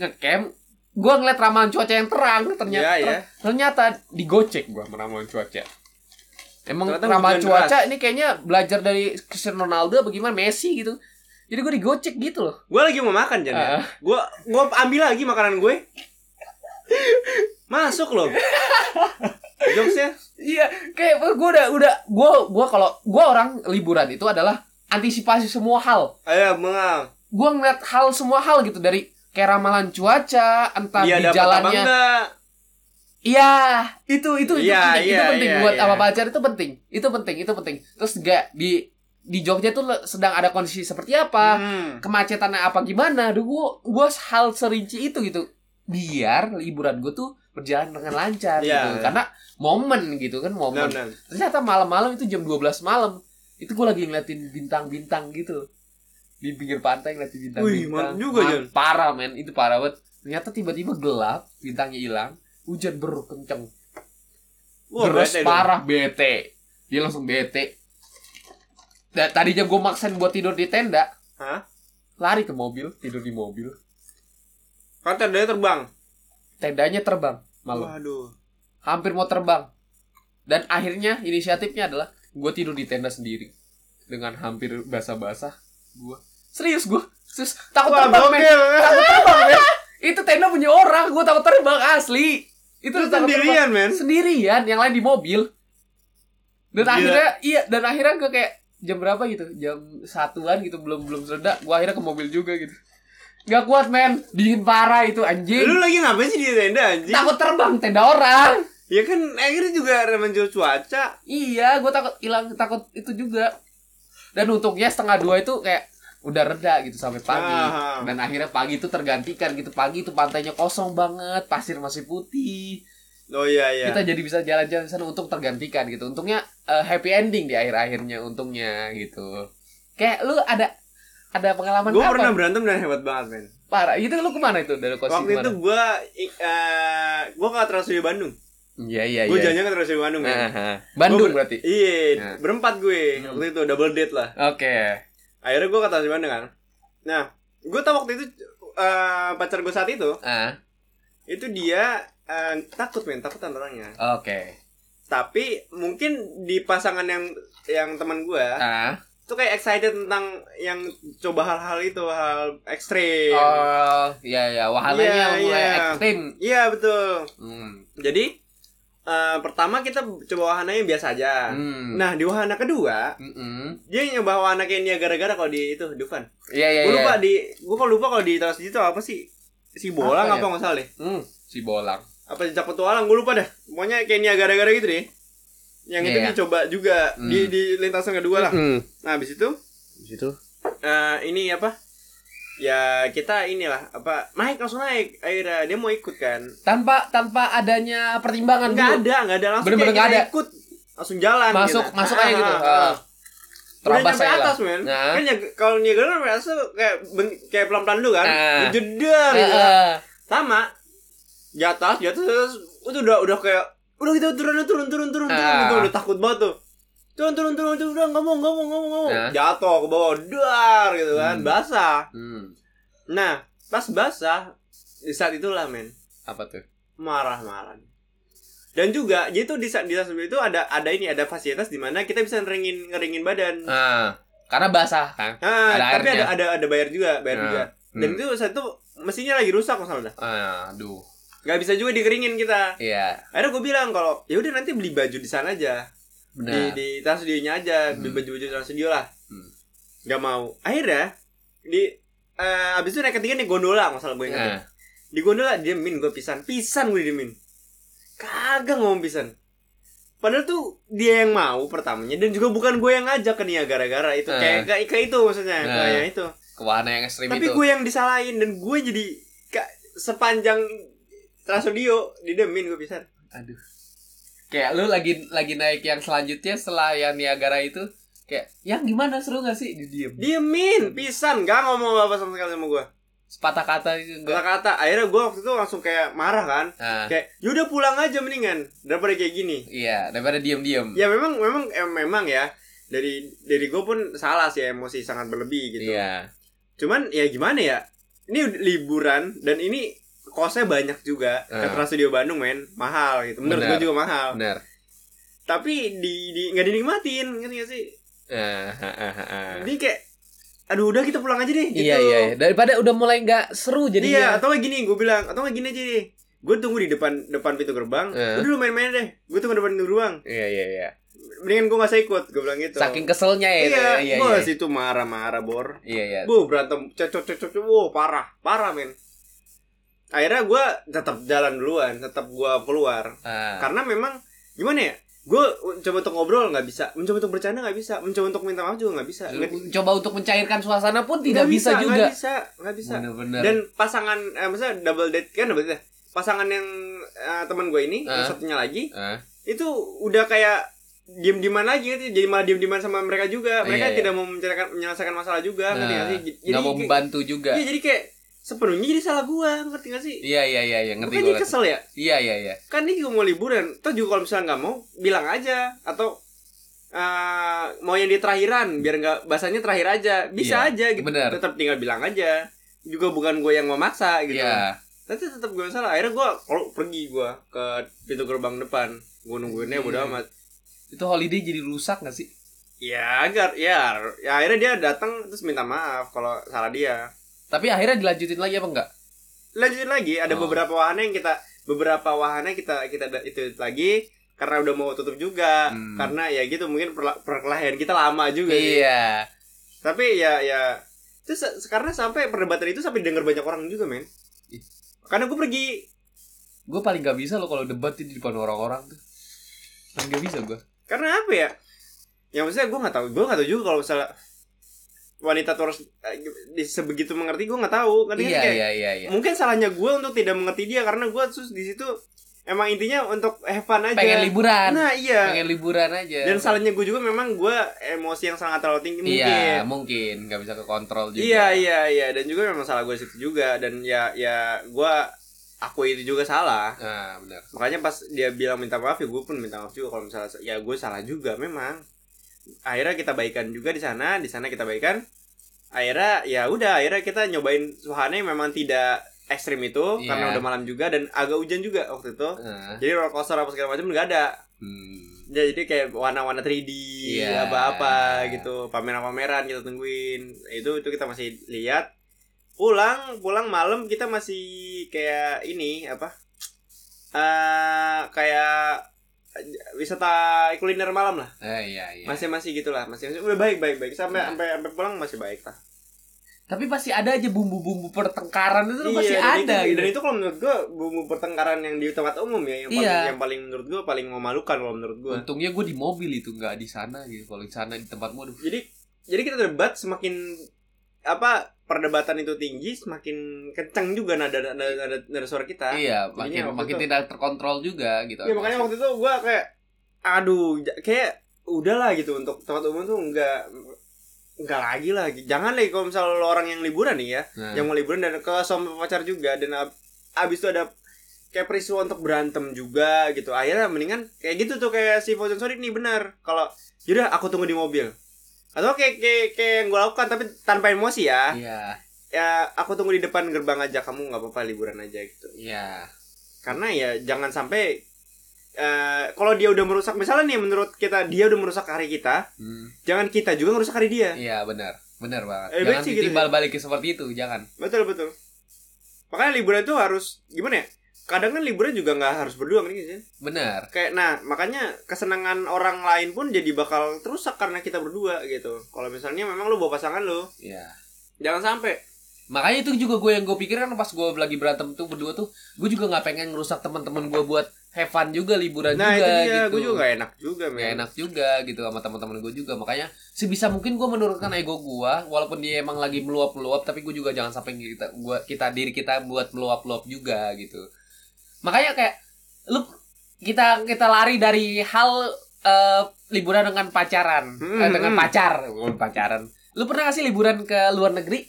A: ngecamp gue ngeliat ramalan cuaca yang terang ternyata
B: Iya, iya.
A: ternyata digocek gue ramalan cuaca emang
B: Ternyata
A: ramalan
B: hujan
A: cuaca ini kayaknya belajar dari Cristiano Ronaldo bagaimana Messi gitu jadi gue digocek gitu loh
B: gue lagi mau makan Jan ya.
A: Ah.
B: gue gue ambil lagi makanan gue masuk loh jokesnya
A: iya kayak gue udah udah gue gue kalau gue orang liburan itu adalah antisipasi semua hal
B: ayo mengal
A: gue ngeliat hal semua hal gitu dari kayak ramalan cuaca entah
B: dia
A: di
B: dapat apa
A: jalannya
B: enggak
A: Iya, itu itu itu
B: Iya,
A: penting, itu
B: iya,
A: penting
B: iya,
A: buat
B: iya.
A: sama pacar itu penting, itu penting, itu penting. Terus gak di di Jogja tuh le- sedang ada kondisi seperti apa,
B: Hmm.
A: kemacetan apa gimana? Aduh, gua gua hal serinci itu gitu. Biar liburan gua tuh berjalan dengan lancar
B: Iya,
A: gitu.
B: iya.
A: Karena momen gitu kan
B: Benar,
A: momen.
B: benar.
A: Ternyata malam-malam itu jam 12 malam. Itu gua lagi ngeliatin bintang-bintang gitu. Di pinggir pantai ngeliatin
B: Wih,
A: bintang-bintang.
B: mantap juga,
A: Man-
B: Jan.
A: Parah, men. Itu parah banget. Ternyata tiba-tiba gelap, bintangnya hilang, hujan beruk kenceng.
B: Wah,
A: Terus
B: bete dong.
A: parah bete. Dia langsung bete. Dan tadinya gue maksain buat tidur di tenda,
B: Hah?
A: lari ke mobil, tidur di mobil.
B: Kan tendanya terbang.
A: Tendanya terbang malam.
B: Waduh.
A: Hampir mau terbang. Dan akhirnya inisiatifnya adalah gue tidur di tenda sendiri dengan hampir basah-basah gue. Serius gue, serius takut
B: Wah,
A: terbang men.
B: gokil.
A: Takut terbang men. Itu tenda punya orang, gue takut terbang asli. Itu
B: Lu
A: takut terbang.
B: sendirian, men.
A: sendirian yang lain di mobil dan
B: Gila.
A: akhirnya iya dan akhirnya gue kayak jam berapa gitu jam satuan gitu belum belum reda gue akhirnya ke mobil juga gitu nggak kuat men dingin parah itu
B: Lu
A: anjing
B: lagi ngapain sih di tenda anjing?
A: takut terbang tenda orang
B: Ya kan akhirnya juga menjual cuaca.
A: iya gue takut hilang takut itu juga dan untungnya setengah dua itu kayak udah reda gitu sampai pagi
B: Ah.
A: dan akhirnya pagi itu tergantikan gitu pagi itu pantainya kosong banget pasir masih putih
B: Oh iya iya.
A: kita jadi bisa jalan-jalan sana untuk tergantikan gitu untungnya eh, happy ending di akhir-akhirnya untungnya gitu kayak lu ada ada pengalaman
B: Gue
A: apa
B: pernah berantem dan hebat banget, men.
A: parah itu lu kemana itu dari kos
B: Waktu itu
A: kemana
B: gue gue ke Trans Studio Bandung.
A: iya iya
B: Gue
A: iya
B: jalannya ke Trans Studio Bandung, men.
A: Aha. Bandung
B: Gua ber-
A: berarti
B: Iya,
A: Nah.
B: berempat gue.
A: Hmm.
B: Waktu itu double date lah.
A: oke
B: Akhirnya gue ke Trans Studio Bandung kan. Nah, gue tau waktu itu eh, pacar gue saat itu
A: ah
B: itu dia eh, takut men takut orangnya
A: oke
B: tapi mungkin di pasangan yang yang teman gue
A: ah
B: tuh kayak excited tentang yang coba hal-hal itu hal ekstrim
A: oh iya iya
B: Iya,
A: wahananya mulai
B: iya.
A: ekstrim
B: iya betul
A: hmm.
B: jadi eh, pertama kita coba wahana yang biasa aja
A: Hmm.
B: nah di wahana kedua
A: Mm-mm.
B: dia nyoba wahana kayak niagara gara kalau di itu Dufan
A: iya iya
B: gue
A: iya
B: lupa di gue kok lupa kalau di Trans itu apa sih si bola
A: Apa ya?
B: apa, nggak salah deh
A: Hmm, si bolang
B: apa jejak petualang gue lupa dah pokoknya kayak niagara gara gitu deh yang itu
A: Iya.
B: dicoba juga
A: Hmm.
B: di di lintasan kedua lah Nah, habis itu
A: situ
B: eh, ini apa? Ya kita inilah apa naik langsung naik akhirnya dia mau ikut kan
A: tanpa tanpa adanya pertimbangan
B: nggak
A: dulu.
B: ada nggak ada langsung
A: Kan Bener-bener
B: kayak
A: nggak
B: kita ikut langsung jalan
A: masuk
B: gitu.
A: masuk
B: Ah,
A: aja gitu
B: ah,
A: Ah.
B: ah. udah
A: terabas
B: nyampe
A: aja lah
B: atas men
A: Nah.
B: kan ya, kalau Niagara merasa kayak ben- kayak pelan pelan dulu kan
A: Ah.
B: jedar gitu kan.
A: Heeh.
B: sama di atas di atas terus itu udah udah kayak udah kita turun turun turun turun turun
A: Ah.
B: gitu, udah takut banget tuh turun turun turun turun udah ngomong ngomong ngomong ngomong
A: Nah.
B: jatuh ke bawah dar gitu kan
A: Hmm.
B: basah
A: Hmm,
B: Nah, pas basah di saat itulah men
A: apa tuh?
B: marah-marah. Dan juga jadi tuh di saat di saat sebelum itu ada ada ini ada fasilitas di mana kita bisa ngeringin ngeringin badan.
A: Ah, karena basah kan.
B: Ah,
A: ada
B: tapi
A: airnya.
B: ada ada ada bayar juga, bayar
A: Nah,
B: juga. Dan itu saat itu mesinnya lagi rusak masalahnya.
A: Ah, aduh.
B: Gak bisa juga dikeringin kita.
A: Iya,
B: Akhirnya gue bilang kalau ya udah nanti beli baju di sana aja. Di
A: benar.
B: di trans studionya aja,
A: Nah.
B: beli
A: Hmm.
B: baju-baju trans studio lah.
A: Hmm.
B: Gak mau. Akhirnya di eh abis itu naik ketiga nih gondola masalah gue ingat.
A: Nah,
B: di gondola diemin gue pisan pisan gue diemin kagak ngomong pisan padahal tuh dia yang mau pertamanya dan juga bukan gue yang ngajak ke Nia gara-gara itu
A: Eh.
B: kayak kayak kayak itu maksudnya
A: Eh.
B: kayak itu
A: ke warna yang ekstrim
B: tapi
A: itu.
B: gue yang disalahin dan gue jadi ka- sepanjang setelah studio didemin gue pisah
A: aduh kayak lu lagi lagi naik yang selanjutnya setelah yang Niagara itu kayak yang gimana seru gak sih di diem
B: diemin pisan gak ngomong apa-apa sama sekali sama gue
A: sepatah kata itu enggak
B: kata-kata akhirnya gue waktu itu langsung kayak marah kan
A: nah,
B: kayak yaudah pulang aja mendingan daripada kayak gini
A: iya daripada diem diem
B: ya memang memang eh, memang ya dari dari gue pun salah sih emosi sangat berlebih gitu
A: iya
B: cuman ya gimana ya ini ud- liburan dan ini kosnya banyak juga
A: Eh.
B: Katra Studio Bandung men mahal gitu menurut
A: Benar.
B: gue juga mahal
A: benar
B: tapi di, di nggak dinikmatin ngerti gak sih
A: Ah, ah, ah, ah.
B: ini kayak aduh udah kita pulang aja deh Iya, gitu
A: iya iya iya. daripada udah mulai nggak seru jadi
B: iya atau nggak gini gue bilang atau nggak gini aja deh gue tunggu di depan depan pintu gerbang
A: Eh.
B: Udah lu main-main deh gue tunggu depan pintu gerbang
A: iya iya iya
B: mendingan gue gak usah ikut gue bilang gitu
A: saking keselnya ya itu.
B: iya
A: iya
B: gue
A: iya
B: situ marah-marah bor
A: iya iya
B: gue berantem cocok cocok cocok wow parah parah men akhirnya gue tetap jalan duluan tetap gue keluar
A: Ah,
B: karena memang gimana ya gue mencoba untuk ngobrol nggak bisa mencoba untuk bercanda nggak bisa mencoba untuk minta maaf juga nggak bisa
A: lu
B: Nggak-
A: coba untuk mencairkan suasana pun tidak
B: nggak
A: bisa, juga
B: nggak bisa nggak bisa
A: benar-benar Ah,
B: dan pasangan eh, maksudnya double date kan double date ya? pasangan yang eh, teman gue ini yang
A: Ah.
B: satunya lagi itu udah kayak diem dieman lagi ngerti? jadi malah diem dieman sama mereka juga
A: Iya,
B: mereka
A: iya.
B: tidak mau menceritakan menyelesaikan masalah juga ngerti nggak sih
A: ah. nggak mau
B: kayak-
A: membantu juga
B: Iya jadi kayak sepenuhnya jadi salah gua ngerti gak sih?
A: iya iya iya iya ngerti
B: Bukan
A: gue
B: jadi kesel ya?
A: iya iya iya
B: Kan ini juga mau liburan. Toh juga kalau misalnya nggak mau bilang aja atau eh, mau yang di terakhiran biar nggak bahasanya terakhir aja bisa
A: Iya,
B: aja gitu.
A: benar.
B: Tetap tinggal bilang aja. Juga bukan gue yang memaksa gitu.
A: iya
B: Tapi tetap gue salah. Akhirnya gue kalau pergi gua ke pintu gerbang depan. Gue nungguinnya
A: Iya.
B: bodo amat.
A: itu holiday jadi rusak nggak sih
B: Ya agar ya, ya akhirnya dia datang terus minta maaf kalau salah dia.
A: tapi akhirnya dilanjutin lagi apa enggak
B: lanjutin lagi ada
A: Oh.
B: beberapa wahana yang kita beberapa wahana kita kita da- itu lagi karena udah mau tutup juga
A: Hmm.
B: karena ya gitu mungkin perla- perkelahian kita lama juga sih.
A: iya
B: tapi ya ya terus se- karena sampai perdebatan itu sampai denger banyak orang juga men
A: Ih.
B: karena gue pergi
A: gue paling gak bisa loh kalau debat di depan orang-orang tuh paling gak bisa gue
B: karena apa ya yang maksudnya gue nggak tahu gue nggak tahu juga kalau misalnya wanita tuh harus eh, di- sebegitu mengerti gue nggak tahu kan
A: iya iya iya iya
B: mungkin salahnya gue untuk tidak mengerti dia karena gue terus di situ emang intinya untuk have fun aja
A: pengen liburan
B: nah iya
A: pengen liburan aja
B: Dan salahnya gue juga memang gue emosi yang sangat terlalu tinggi mungkin.
A: iya mungkin nggak bisa ke kontrol juga
B: Iya iya iya dan juga memang salah gue situ juga dan ya ya gue aku itu juga salah.
A: nah benar
B: Makanya pas dia bilang minta maaf ya gue pun minta maaf juga kalau misalnya ya gue salah juga memang. Akhirnya kita baikan juga di sana, di sana kita baikan. Akhirnya ya udah akhirnya kita nyobain suhana yang memang tidak ekstrim itu
A: Iya.
B: karena udah malam juga dan agak hujan juga waktu itu.
A: Nah,
B: Jadi roller coaster apa segala macam nggak ada.
A: hmm.
B: Ya, jadi kayak warna-warna 3D
A: Iya.
B: apa-apa gitu pameran-pameran kita tungguin itu itu kita masih lihat pulang pulang malam kita masih kayak ini apa eh kayak wisata kuliner malam lah
A: Eh, iya iya
B: masih masih gitulah masih masih udah baik baik baik sampai
A: Nah.
B: sampai sampai pulang masih baik lah
A: tapi pasti ada aja bumbu-bumbu pertengkaran itu tuh pasti
B: Iya, dan
A: ada
B: itu,
A: gitu.
B: dan itu kalau menurut gua bumbu pertengkaran yang di tempat umum ya yang paling
A: Iya.
B: yang paling menurut gua paling memalukan kalau menurut gua
A: gitu. untungnya gue di mobil itu nggak di sana gitu kalau di sana di tempatmu aduh Iya,
B: jadi jadi kita debat semakin apa perdebatan itu tinggi semakin kencang juga nada nada nada, nada suara kita
A: iya
B: jadinya
A: makin
B: waktu
A: makin
B: itu-
A: tidak terkontrol juga gitu
B: ya makanya waktu itu gua kayak aduh j- kayak udahlah gitu untuk tempat umum tuh nggak nggak lagi lah jangan lagi kalau misalnya lo orang yang liburan nih ya
A: Nah,
B: yang mau liburan dan ke suami pacar juga dan ab- abis itu ada kayak peristiwa untuk berantem juga gitu akhirnya mendingan kayak gitu tuh kayak si Fauzan Sodik nih benar kalau yaudah aku tunggu di mobil atau kayak kayak, kayak yang gue lakukan tapi tanpa emosi ya
A: iya
B: ya aku tunggu di depan gerbang aja kamu nggak apa-apa liburan aja gitu
A: iya
B: karena ya jangan sampai eh, kalau dia udah merusak misalnya nih menurut kita dia udah merusak hari kita
A: Hmm,
B: jangan kita juga merusak hari dia
A: iya benar benar banget
B: Eh,
A: jangan
B: baik sih gitu
A: ditimbal balikin seperti itu jangan
B: Betul betul. Makanya liburan tuh harus gimana ya? Kadang kan liburan juga nggak harus berdua kan gitu ya.
A: benar
B: Kayak nah, makanya kesenangan orang lain pun jadi bakal terusak karena kita berdua gitu. Kalau misalnya memang lu bawa pasangan lu,
A: iya
B: jangan sampai
A: Makanya itu juga gue yang gue pikir kan pas gue lagi berantem tuh berdua tuh gue juga nggak pengen ngerusak teman-teman gue buat have fun juga liburan
B: Nah, itu
A: juga
B: dia,
A: gitu.
B: gue juga gak enak juga, men.
A: Nggak enak juga gitu sama teman-teman gue juga makanya sebisa mungkin gue menurunkan ego gue walaupun dia emang lagi meluap-luap tapi gue juga jangan sampai kita gua kita diri kita buat meluap-luap juga gitu makanya kayak lu kita kita lari dari hal eh, liburan dengan pacaran
B: Hmm,
A: Eh, dengan
B: hmm.
A: pacar bukan pacaran lu pernah gak sih liburan ke luar negeri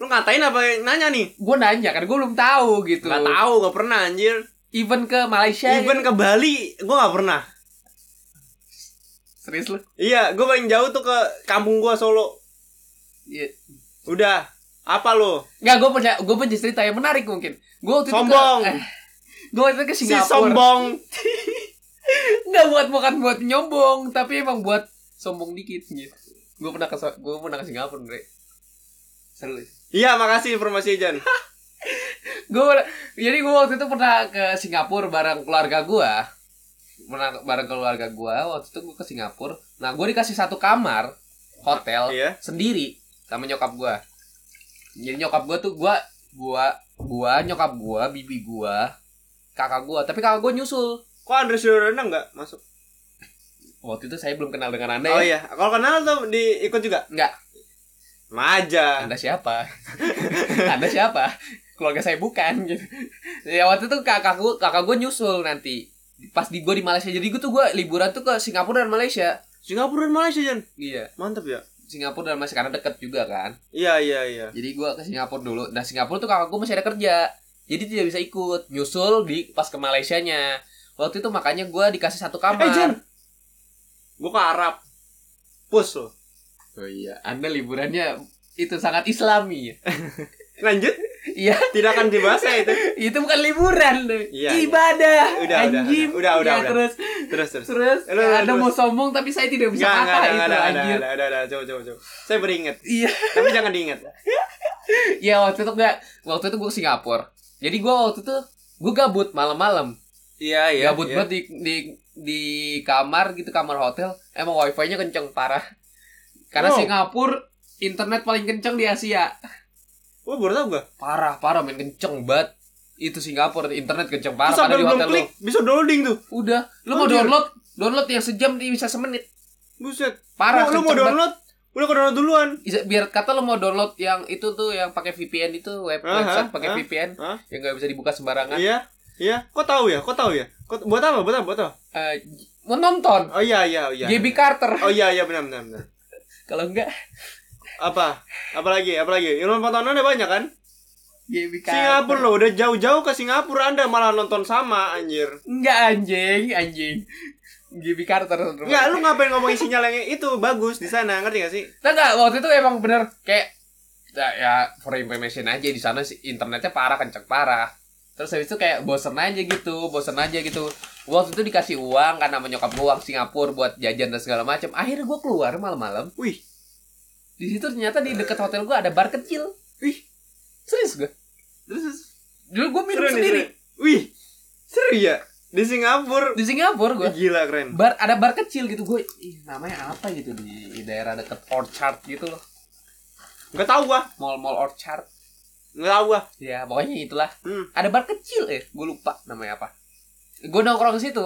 B: Lu ngatain apa yang nanya nih?
A: gue nanya kan gue belum tahu gitu
B: Gak tahu, gak pernah anjir.
A: even ke Malaysia
B: Even ke Bali, gua gak pernah.
A: serius lu
B: Iya, gua paling jauh tuh ke kampung gua Solo.
A: Iya.
B: Udah. Apa lu?
A: nggak gue punya gue punya cerita yang menarik mungkin gue waktu
B: Sombong.
A: itu ke, gue waktu itu ke
B: Si
A: Singapura
B: sombong.
A: nggak buat bukan buat nyombong tapi emang buat sombong dikit gitu gue pernah ke gue pernah ke Singapura Bre. seru
B: Iya, makasih informasinya, Jan.
A: gue jadi gue waktu itu pernah ke Singapura bareng keluarga gue pernah ke- bareng keluarga gue waktu itu gue ke Singapura nah gue dikasih satu kamar hotel
B: Iya.
A: sendiri sama nyokap gue jadi nyokap gue tuh gue gue gue nyokap gue bibi gue kakak gue tapi kakak gue nyusul
B: Kok Andre Sudorana enggak masuk?
A: waktu itu saya belum kenal dengan anda
B: Oh
A: ya
B: iya, kalau kenal tuh diikut juga?
A: Nggak.
B: Maja.
A: Anda siapa? Anda siapa? Keluarga saya bukan gitu. Ya waktu itu kakak gue kakak gue nyusul nanti pas di gue di Malaysia jadi gue tuh gue liburan tuh ke Singapura dan Malaysia
B: Singapura dan Malaysia, Jan.
A: iya
B: Mantap ya.
A: Singapura dan Malaysia karena deket juga kan
B: Iya, iya, iya.
A: jadi gue ke Singapura dulu nah Singapura tuh kakak gue masih ada kerja jadi tidak bisa ikut nyusul di pas ke Malaysia nya waktu itu makanya gue dikasih satu kamar
B: Eh, Jan. Gua ke Arab. Pus lo.
A: oh iya Anda liburannya itu sangat Islami
B: Lanjut.
A: iya
B: Tidak akan dibahas ya itu.
A: itu bukan liburan
B: Iya, iya.
A: ibadah
B: Udah, udah,
A: anjing
B: udah, udah,
A: Ya,
B: udah.
A: terus
B: Terus, terus.
A: Terus ya
B: Lu- lu-
A: ada
B: lu-
A: mau sombong tapi saya tidak bisa
B: Enggak, enggak,
A: apa
B: enggak,
A: itu
B: enggak, enggak,
A: anjir.
B: enggak, enggak, enggak, coba, coba, coba. Saya beringat,
A: Iya.
B: tapi jangan diingat.
A: Ya waktu itu enggak waktu itu gue ke Singapura. Jadi gue waktu itu gue gabut malam-malam.
B: Iya,
A: gabut banget di, di di kamar gitu kamar hotel. Emang wifi-nya kenceng parah. Karena
B: Wow.
A: Singapura internet paling kenceng di Asia.
B: Wah, baru tau gua.
A: Parah, parah main kenceng banget. Itu Singapura internet kenceng parah
B: Terus sampai
A: padahal di
B: belum
A: hotel
B: klik, bisa downloading tuh.
A: lu. Udah, lu mau
B: Anjir.
A: download download yang sejam nih bisa semenit.
B: Buset.
A: Parah.
B: Lu, lu mau
A: kenceng banget.
B: download? Udah ke download duluan.
A: Bisa- biar kata lo mau download yang itu tuh yang pakai VPN itu web
B: Aha,
A: website pakai
B: ah,
A: VPN
B: ah.
A: yang nggak bisa dibuka sembarangan
B: Iya. Iya, kok tahu ya? Kok tahu ya? Kok buat apa? Buat apa? Buat apa?
A: Eh, mau nonton
B: Oh iya, iya, iya.
A: JB Carter
B: Oh iya, iya benar benar benar.
A: kalau enggak
B: Apa? Apalagi? Apalagi? Ilmu tontonannya banyak kan?
A: JB Carter
B: Singapura loh, udah jauh-jauh ke Singapura Anda malah nonton sama anjir.
A: enggak anjing anjing JB Carter
B: Enggak, lu ngapain ngomongin sinyal yang itu bagus di sana, ngerti gak sih?
A: Nah, enggak waktu itu emang bener kayak ya, ya for information aja di sana sih internetnya parah kenceng parah terus habis itu kayak bosen aja gitu bosen aja gitu waktu itu dikasih uang karena menyokap gua uang Singapura buat jajan dan segala macam akhirnya gua keluar malam-malam
B: Wih,
A: di situ ternyata di dekat hotel gua ada bar kecil
B: wih,
A: serius gua
B: terus terus.
A: dulu gua minum
B: Seru nih,
A: sendiri
B: seru. Wih, seru ya? Di Singapura.
A: di Singapura gua
B: Ih, Gila keren.
A: bar ada bar kecil gitu gua ih, namanya apa gitu di daerah dekat Orchard gitu loh
B: Enggak tahu gua,
A: mall-mall Orchard
B: enggak tahu gua.
A: ya pokoknya itulah
B: Hmm.
A: ada bar kecil eh gua lupa namanya apa gua nongkrong ke situ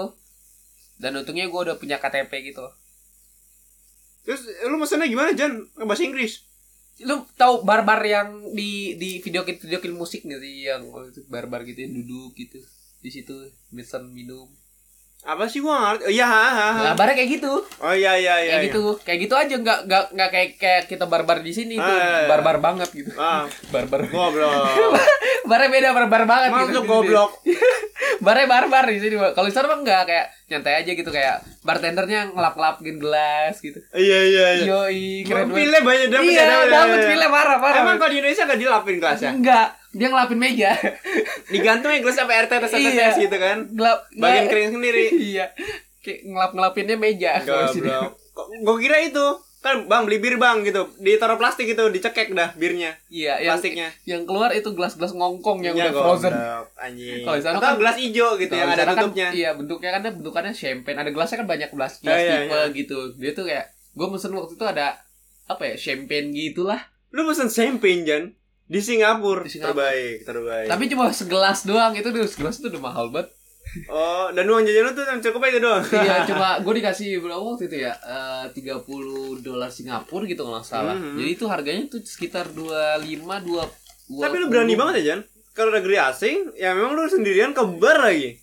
A: dan untungnya gua udah punya KTP gitu
B: Terus lu mesennya gimana, Jan? Pakai Bahasa Inggris.
A: lu tahu bar-bar yang di di videokin videokin musik nggak sih yang bar-bar gitu yang duduk gitu di situ mesen minum
B: Apa sih gua nggak ngerti? Oh, iya, ha, ha, ha.
A: nah, barnya kayak gitu
B: Oh iya iya iya.
A: kayak
B: iya.
A: gitu kayak gitu aja nggak nggak nggak kayak kayak kita barbar di sini itu
B: Ah, iya, iya.
A: barbar banget gitu
B: Ah,
A: barbar
B: goblok.
A: barnya beda barbar banget gitu
B: Masuk goblok.
A: barnya barbar di sini kalau di sana mah nggak kayak nyantai aja gitu kayak bartendernya ngelap ngelapin gelas gitu
B: Iya iya iya.
A: yoi keren banget
B: Pilih banyak dapet
A: iya
B: ya, dapet,
A: dapet
B: ya, ya.
A: pilih parah parah
B: Emang kalau di Indonesia gak dilapin gelasnya?
A: enggak dia ngelapin meja
B: Digantungnya gelas sampai RT atas atas
A: Iya.
B: gitu kan.
A: gelap nggak-
B: Bagian kering sendiri.
A: iya kayak ngelap ngelapinnya meja kalau di sini
B: Goblok. Gue kira itu kan bang beli bir bang gitu ditaruh plastik gitu dicekek dah birnya
A: iya yang
B: plastiknya
A: yang keluar itu gelas-gelas ngongkong yang
B: Iya,
A: udah frozen
B: goblok, anjing
A: Kalau di sana
B: atau
A: kan-
B: gelas hijau gitu
A: Kalau
B: yang
A: di
B: ada
A: sana kan,
B: tutupnya
A: iya bentuknya kan bentukannya champagne ada gelasnya kan banyak gelas gelas
B: Ah, iya,
A: tipe gitu dia tuh kayak gue mesen waktu itu ada apa ya champagne gitulah
B: lu pesen champagne Jan di Singapura,
A: Di Singapura.
B: terbaik terbaik
A: tapi cuma segelas doang itu udah segelas itu udah mahal banget
B: oh dan uang jajan lu tuh yang cukup aja itu doang
A: iya cuma gue dikasih berapa waktu itu ya tiga puluh dolar Singapura gitu kalau nggak salah
B: Mhm.
A: jadi itu harganya tuh sekitar dua lima dua
B: tapi lu berani banget ya Jan kalau negeri asing ya memang lu sendirian ke bar lagi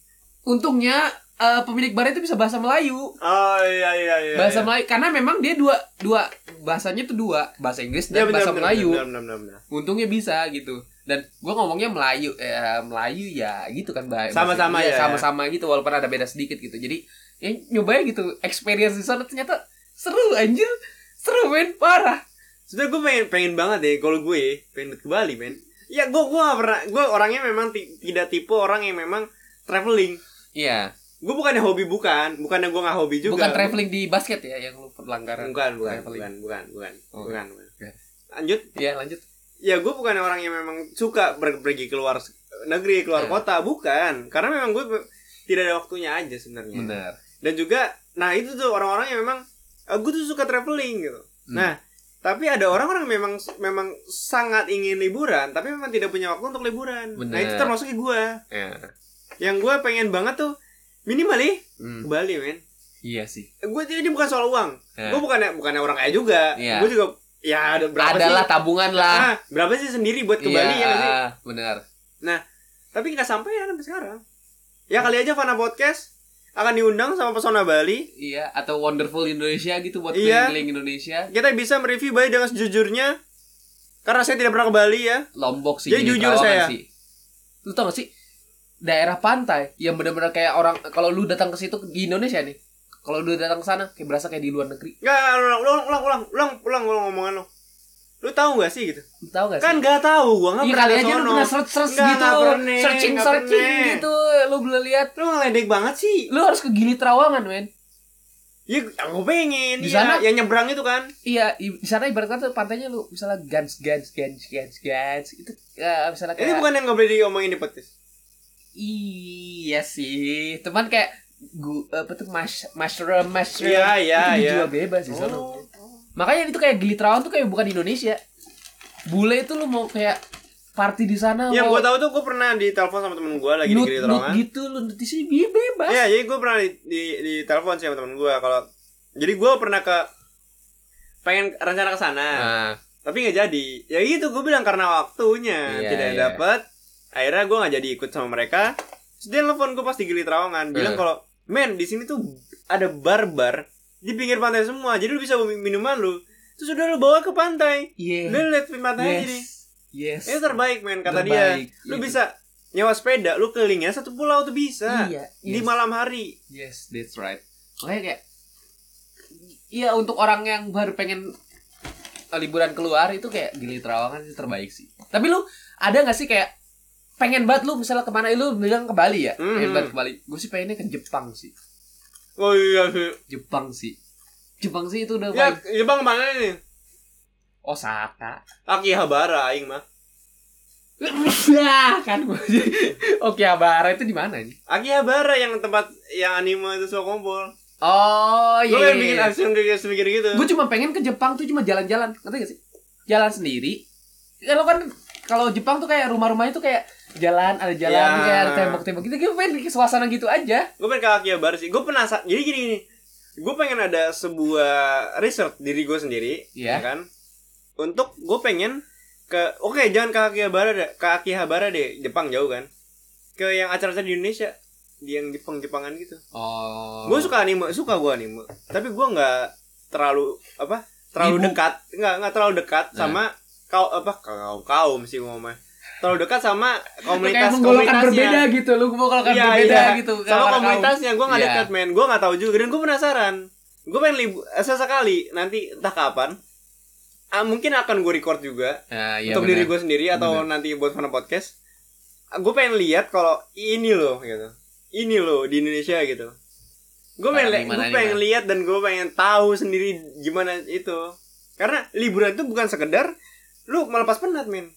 A: Untungnya eh, pemilik bar itu bisa bahasa Melayu.
B: oh iya iya iya
A: Bahasa
B: iya.
A: Melayu karena memang dia dua dua bahasanya tuh dua, bahasa Inggris
B: Iya,
A: dan
B: benar,
A: bahasa
B: benar,
A: Melayu.
B: benar, benar, benar, benar.
A: Untungnya bisa gitu. Dan gua ngomongnya Melayu eh Melayu ya gitu kan bah- bahasa
B: Sama-sama
A: iya,
B: ya.
A: Sama-sama gitu walaupun ada beda sedikit gitu. Jadi ya nyobain gitu experience di sana ternyata seru anjir. Seru men parah.
B: sebenernya gue pengen pengen banget deh kalau gue pengen ke Bali men ya gue gue gak pernah gue orangnya memang ti- tidak tipe orang yang memang traveling
A: Iya.
B: gue bukannya hobi bukan bukannya gue nggak hobi juga
A: Bukan traveling di basket ya yang lu pelanggaran.
B: bukan bukan
A: traveling.
B: bukan bukan bukan
A: Oh.
B: bukan,
A: Oke.
B: bukan. lanjut
A: Iya, lanjut.
B: ya gue bukan orang yang memang suka ber- pergi keluar s- negeri keluar
A: Hmm.
B: kota bukan karena memang gue be- tidak ada waktunya aja sebenarnya
A: Benar.
B: dan juga nah itu tuh orang-orang yang memang eh, gue tuh suka traveling gitu
A: Hmm.
B: nah tapi ada orang-orang yang memang memang sangat ingin liburan tapi memang tidak punya waktu untuk liburan nah
A: Bener.
B: itu termasuk gue
A: Iya.
B: yang gue pengen banget tuh minimal nih ke
A: Hmm.
B: Bali men
A: Iya sih.
B: gue ini bukan soal uang
A: Ya.
B: gue bukannya bukannya orang kaya juga
A: Iya.
B: gue juga ya ada berapa
A: Adalah
B: sih
A: tabungan lah.
B: Ah, berapa sih sendiri buat ke Bali ya
A: iya,
B: nggak sih?
A: ah, benar.
B: tapi nggak sampai ya sampai sekarang ya kali aja Fana Podcast akan diundang sama pesona Bali
A: Iya, atau Wonderful Indonesia gitu buat
B: Iya.
A: keliling Indonesia.
B: kita bisa mereview Bali dengan sejujurnya karena saya tidak pernah ke Bali ya
A: Lombok sih.
B: Jadi
A: jadi
B: jujur
A: Terawangan
B: saya.
A: Sih. Lu tau gak sih? Daerah pantai yang benar-benar kayak orang kalau lu datang ke situ di Indonesia nih. Kalau lu datang ke sana kayak berasa kayak di luar negeri.
B: nggak ulang ulang ulang ulang ulang ulang ulang ngomongan lo lu tahu nggak sih gitu
A: Lu tau gak sih?
B: kan nggak tahu gua nggak
A: Iya
B: pernah
A: kali
B: ke
A: aja lu
B: sono.
A: pernah search search
B: Nggak,
A: gitu,
B: nggak pernah,
A: searching
B: nggak
A: searching
B: pernah.
A: gitu, lu belum lihat.
B: lu ngeledek banget sih
A: Lu harus ke Gili Trawangan, men.
B: ya aku pengen
A: Di
B: iya.
A: sana?
B: yang nyebrang itu kan
A: Iya, i- di sana ibarat kata pantainya lu misalnya gans gans gans gans gans itu eh, misalnya kayak
B: ini bukan yang nggak boleh diomongin di podcast
A: Iya sih, teman kayak gu apa tuh mas mushroom mushroom
B: Iya, iya,
A: itu
B: iya.
A: dijual bebas di sana.
B: Oh.
A: Makanya itu kayak glitrawan tuh kayak bukan di Indonesia. Bule itu lu mau kayak party di sana
B: yang
A: mau
B: Iya, gua tahu tuh gua pernah ditelepon sama temen gua lagi
A: nut,
B: di Gili
A: nut
B: Trawangan
A: gitu lu nut di sini dia bebas.
B: Iya, jadi gue pernah di, di, di telepon sih sama temen gue kalau jadi gue pernah ke pengen rencana ke sana,
A: Nah,
B: tapi nggak jadi. Ya gitu gue bilang karena waktunya
A: Iya,
B: tidak
A: iya.
B: dapet. Akhirnya gue nggak jadi ikut sama mereka. Terus dia telepon gue pas di Gili Trawangan bilang
A: Eh.
B: kalau men di sini tuh ada bar-bar di pinggir pantai semua, jadi lu bisa bawa minuman lu. Terus udah lu bawa ke pantai,
A: iya.
B: lu lihat pantai aja nih.
A: Yes. Yes.
B: Itu terbaik men kata
A: Terbaik,
B: dia. Lu
A: gitu.
B: bisa nyewa sepeda, lu kelilingnya satu pulau tuh bisa.
A: Iya.
B: Di
A: yes.
B: malam hari.
A: Yes, that's right. Makanya kayak Iya untuk orang yang baru pengen uh, liburan keluar itu kayak Gili Trawangan itu terbaik sih. Tapi lu ada nggak sih kayak pengen banget lu misalnya kemana lu bilang ke Bali ya? Pengen
B: Mhm.
A: banget ke Bali. Gue sih pengennya ke Jepang sih.
B: Oh iya sih.
A: Jepang sih. Jepang sih itu udah
B: Ya,
A: paling
B: Jepang mana ini?
A: Osaka.
B: Akihabara aing mah.
A: Lah kan gue. Oke, Abara itu di mana nih?
B: Akihabara yang tempat yang anime itu suka kumpul.
A: Oh
B: Lo
A: iya.
B: yang bikin action kayak semikir gitu.
A: gue cuma pengen ke Jepang tuh cuma jalan-jalan ngerti gak sih jalan sendiri kalau kan kalau Jepang tuh kayak rumah-rumahnya tuh kayak jalan ada jalan
B: Ya.
A: kayak ada tembok-tembok gitu gue pengen ke suasana gitu aja
B: Gue pengen ke Akihabara sih. Gue penasaran. Jadi gini gini. Gue pengen ada sebuah research diri gue sendiri,
A: Iya.
B: ya kan? Untuk gue pengen ke oke jangan ke Akihabara deh, ke Akihabara deh, Jepang jauh kan? Ke yang acara-acara di Indonesia, di yang Jepang-Jepangan gitu.
A: oh
B: gue suka anime suka gue anime tapi gue nggak terlalu apa terlalu
A: Ibu.
B: dekat nggak nggak terlalu dekat
A: Nah.
B: sama kau apa kaum kaum sih ngomongnya terlalu dekat sama
A: kayak
B: komunitas
A: menggolokkan
B: komunitasnya
A: berbeda gitu lu menggolokkan
B: Iya,
A: berbeda
B: iya.
A: gitu
B: sama
A: Kawan-kawan.
B: komunitasnya gue nggak
A: Iya.
B: dekat men gue nggak tahu juga dan gue penasaran gue pengen libu eh, sesekali nanti entah kapan ah, mungkin akan gue record juga
A: Nah, iya,
B: untuk
A: benar.
B: diri gue sendiri atau nanti buat fana podcast gue pengen lihat kalau ini loh gitu ini loh di Indonesia gitu gue pengen
A: Parah, Nah,
B: li-
A: gimana
B: gue
A: nih,
B: pengen
A: Mas?
B: lihat dan gue pengen tahu sendiri gimana itu karena liburan itu bukan sekedar lu melepas penat men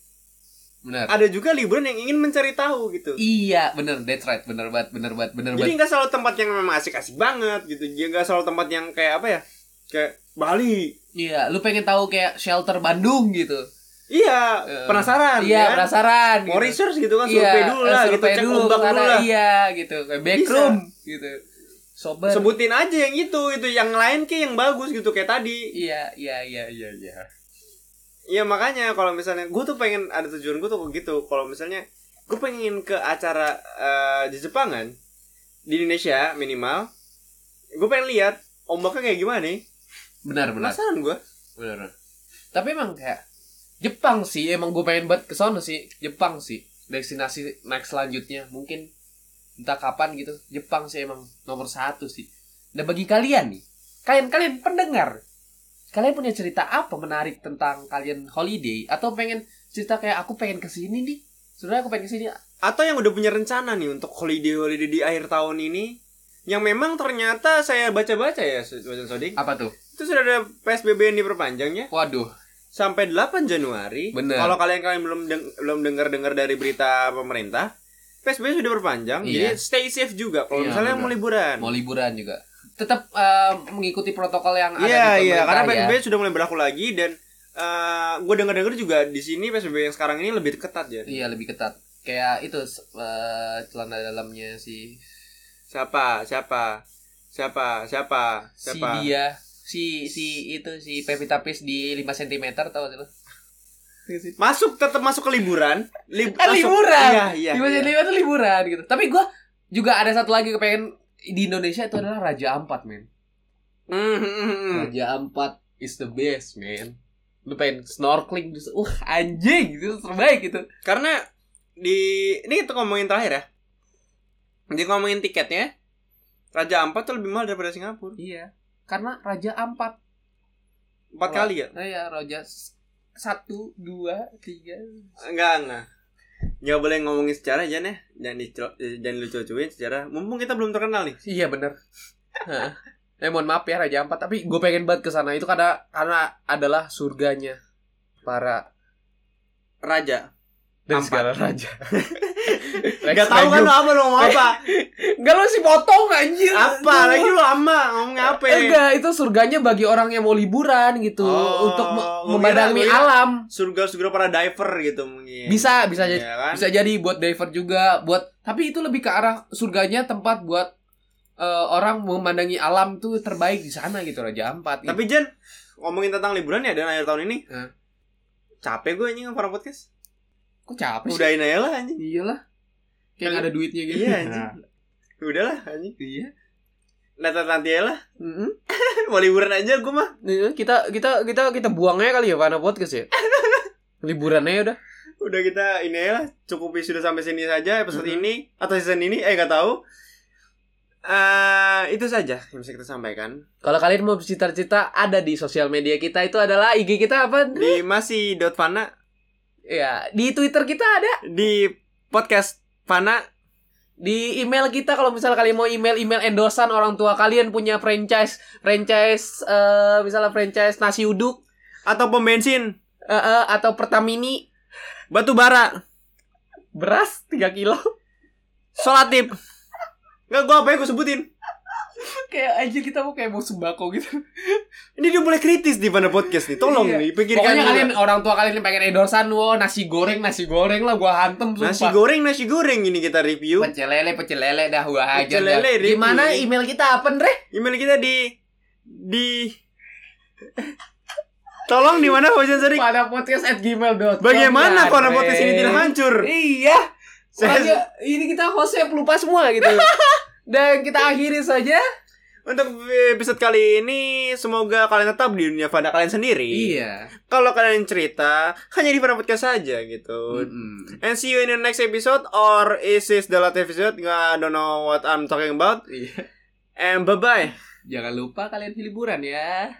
A: benar
B: ada juga liburan yang ingin mencari tahu gitu
A: iya benar that's right benar banget benar banget benar
B: jadi
A: banget
B: nggak selalu tempat yang memang asik-asik banget gitu dia nggak selalu tempat yang kayak apa ya kayak Bali
A: iya lu pengen tahu kayak shelter Bandung gitu
B: iya
A: Eh,
B: penasaran
A: iya
B: kan?
A: penasaran
B: mau
A: gitu.
B: research gitu kan survei dulu lah
A: eh,
B: gitu
A: survei
B: cek
A: dulu,
B: ombak
A: karena
B: dulu lah
A: iya gitu kayak backroom gitu sobat
B: sebutin aja yang itu itu yang lain ke yang bagus gitu kayak tadi Iya,
A: iya iya iya iya iya
B: ya makanya kalau misalnya gue tuh pengen ada tujuan gue tuh gitu kalau misalnya gue pengen ke acara eh, di Jepangan di Indonesia minimal gue pengen lihat ombaknya kayak gimana nih
A: benar benar
B: penasaran gue
A: benar benar. tapi emang kayak Jepang sih emang gue pengen banget ke sono sih Jepang sih destinasi next selanjutnya mungkin entah kapan gitu Jepang sih emang nomor satu sih nah bagi kalian nih kalian kalian pendengar kalian punya cerita apa menarik tentang kalian holiday atau pengen cerita kayak aku pengen kesini nih sebenarnya aku pengen kesini
B: atau yang udah punya rencana nih untuk holiday holiday di akhir tahun ini yang memang ternyata saya baca-baca ya Wajan Sodik
A: apa tuh
B: itu sudah ada PSBB yang diperpanjang ya
A: waduh
B: sampai 8 Januari.
A: Bener.
B: Kalau kalian kalian belum deng- belum dengar-dengar dari berita pemerintah, PSBB sudah diperpanjang.
A: Iya.
B: Jadi stay safe juga kalau
A: Iya,
B: misalnya mau
A: bener.
B: liburan.
A: mau liburan juga tetap eh, mengikuti protokol yang ada
B: Iya,
A: di pemerintah
B: iya, karena
A: ya.
B: PSBB sudah mulai berlaku lagi dan gue dengar-dengar juga di sini PSBB yang sekarang ini lebih ketat ya.
A: Iya lebih ketat. Kayak itu s- eh, celana dalamnya si
B: Siapa? Siapa? Siapa? Siapa?
A: si
B: Siapa?
A: dia si si itu si Pevita Peace di 5 cm tahu gak sih lo?
B: Masuk tetap masuk ke liburan. Lib-
A: Kan
B: Iya masuk-
A: liburan.
B: Iya, iya.
A: 5
B: iya.
A: cm itu liburan gitu. Tapi gua juga ada satu lagi kepengen di Indonesia itu adalah Raja Ampat, men.
B: Mm, mm, mm, mm.
A: Raja Ampat is the best, men. Lu pengen snorkeling di uh anjing itu terbaik gitu. itu.
B: Karena di ini kita ngomongin terakhir ya. Di ngomongin tiketnya, Raja Ampat tuh lebih mahal daripada Singapura.
A: Iya. Karena Raja Ampat.
B: Empat
A: Wah.
B: kali ya?
A: Nah ya Raja s- satu, dua, tiga.
B: Enggak, enggak. Nggak boleh ngomongin sejarah aja nih. Jangan dicel- eh, jangan lucu-lucuin sejarah. Mumpung kita belum terkenal nih.
A: Iya bener Hah. Eh mohon maaf ya Raja Ampat Tapi gue pengen banget ke sana Itu karena, karena adalah surganya Para
B: Raja.
A: dan
B: Ampat.
A: segala raja
B: Enggak tahu kan lo apa lo ngomong apa?
A: Enggak lu sih potong anjir
B: apa lagi lo ama ngomong apa? ya?
A: Enggak itu surganya bagi orang yang mau liburan gitu
B: Oh, iya,
A: Untuk me-
B: gua kira-
A: memandangi
B: gua kira-
A: alam
B: Surga-surga para diver gitu mungkin.
A: Bisa, bisa jadi
B: Iya kan?
A: Bisa jadi buat diver juga buat Tapi itu lebih ke arah surganya tempat buat eh, Orang memandangi alam tuh terbaik di sana gitu Raja Ampat
B: Iya. Tapi Jen, ngomongin tentang liburan ya dan akhir tahun ini.
A: Hah?
B: Capek gue anjing ngefarm podcast.
A: Kok capek sih?
B: Udahin aja lah anjing.
A: Iyalah. Kayak nggak ada duitnya gitu.
B: Iya anjing. Udahlah anjing.
A: Iya.
B: Nanti nanti aja lah.
A: Mm-mm.
B: Mau liburan aja gue mah.
A: Iya, Kita kita kita kita buangnya kali ya Vana Podcast ya. Liburan aja udah.
B: Udah kita ini aja lah. Cukupi sudah sampai sini saja episode
A: Mhm.
B: ini atau season ini. Eh nggak tahu. Eh itu saja yang bisa kita sampaikan
A: Kalau kalian mau cita-cita ada di sosial media kita itu adalah IG kita apa?
B: di masih dot Fana
A: Ya, di Twitter kita ada,
B: di podcast Fana
A: di email kita kalau misalnya kalian mau email-email endosan orang tua kalian punya franchise franchise eh, misalnya franchise nasi uduk
B: atau pom bensin
A: eh, eh, atau Pertamini
B: batu bara
A: beras 3 kilo
B: solatip nggak gue apa yang gue sebutin
A: kayak aja kita mau kayak mau sembako gitu
B: ini dia boleh kritis di Fana podcast nih tolong
A: Iya.
B: nih pikirkan
A: Pokoknya
B: juga.
A: kalian orang tua kalian yang pengen endorsean wo nasi goreng nasi goreng lah gua hantem sumpah.
B: nasi goreng nasi goreng ini kita review
A: Pecel lele pecel lele dah gua hajar.
B: Pecel lele,
A: dah.
B: review.
A: Gimana email kita apa Ndre?
B: email kita di di tolong di mana Fauzan Sari?
A: Pada podcast at gmail.com
B: Bagaimana
A: ya,
B: kalau
A: Ndre?
B: podcast ini tidak hancur?
A: Iya.
B: Saya-
A: Soalnya ini kita hostnya pelupa semua gitu. Dan kita akhiri saja.
B: Untuk episode kali ini semoga kalian tetap di dunia fana kalian sendiri.
A: Iya.
B: Kalau kalian cerita hanya di Fana Podcast saja gitu.
A: Iya. Mm-mm.
B: And see you in the next episode or is this the last episode? I don't know what I'm talking about.
A: Iya.
B: And bye bye.
A: Jangan lupa kalian liburan ya.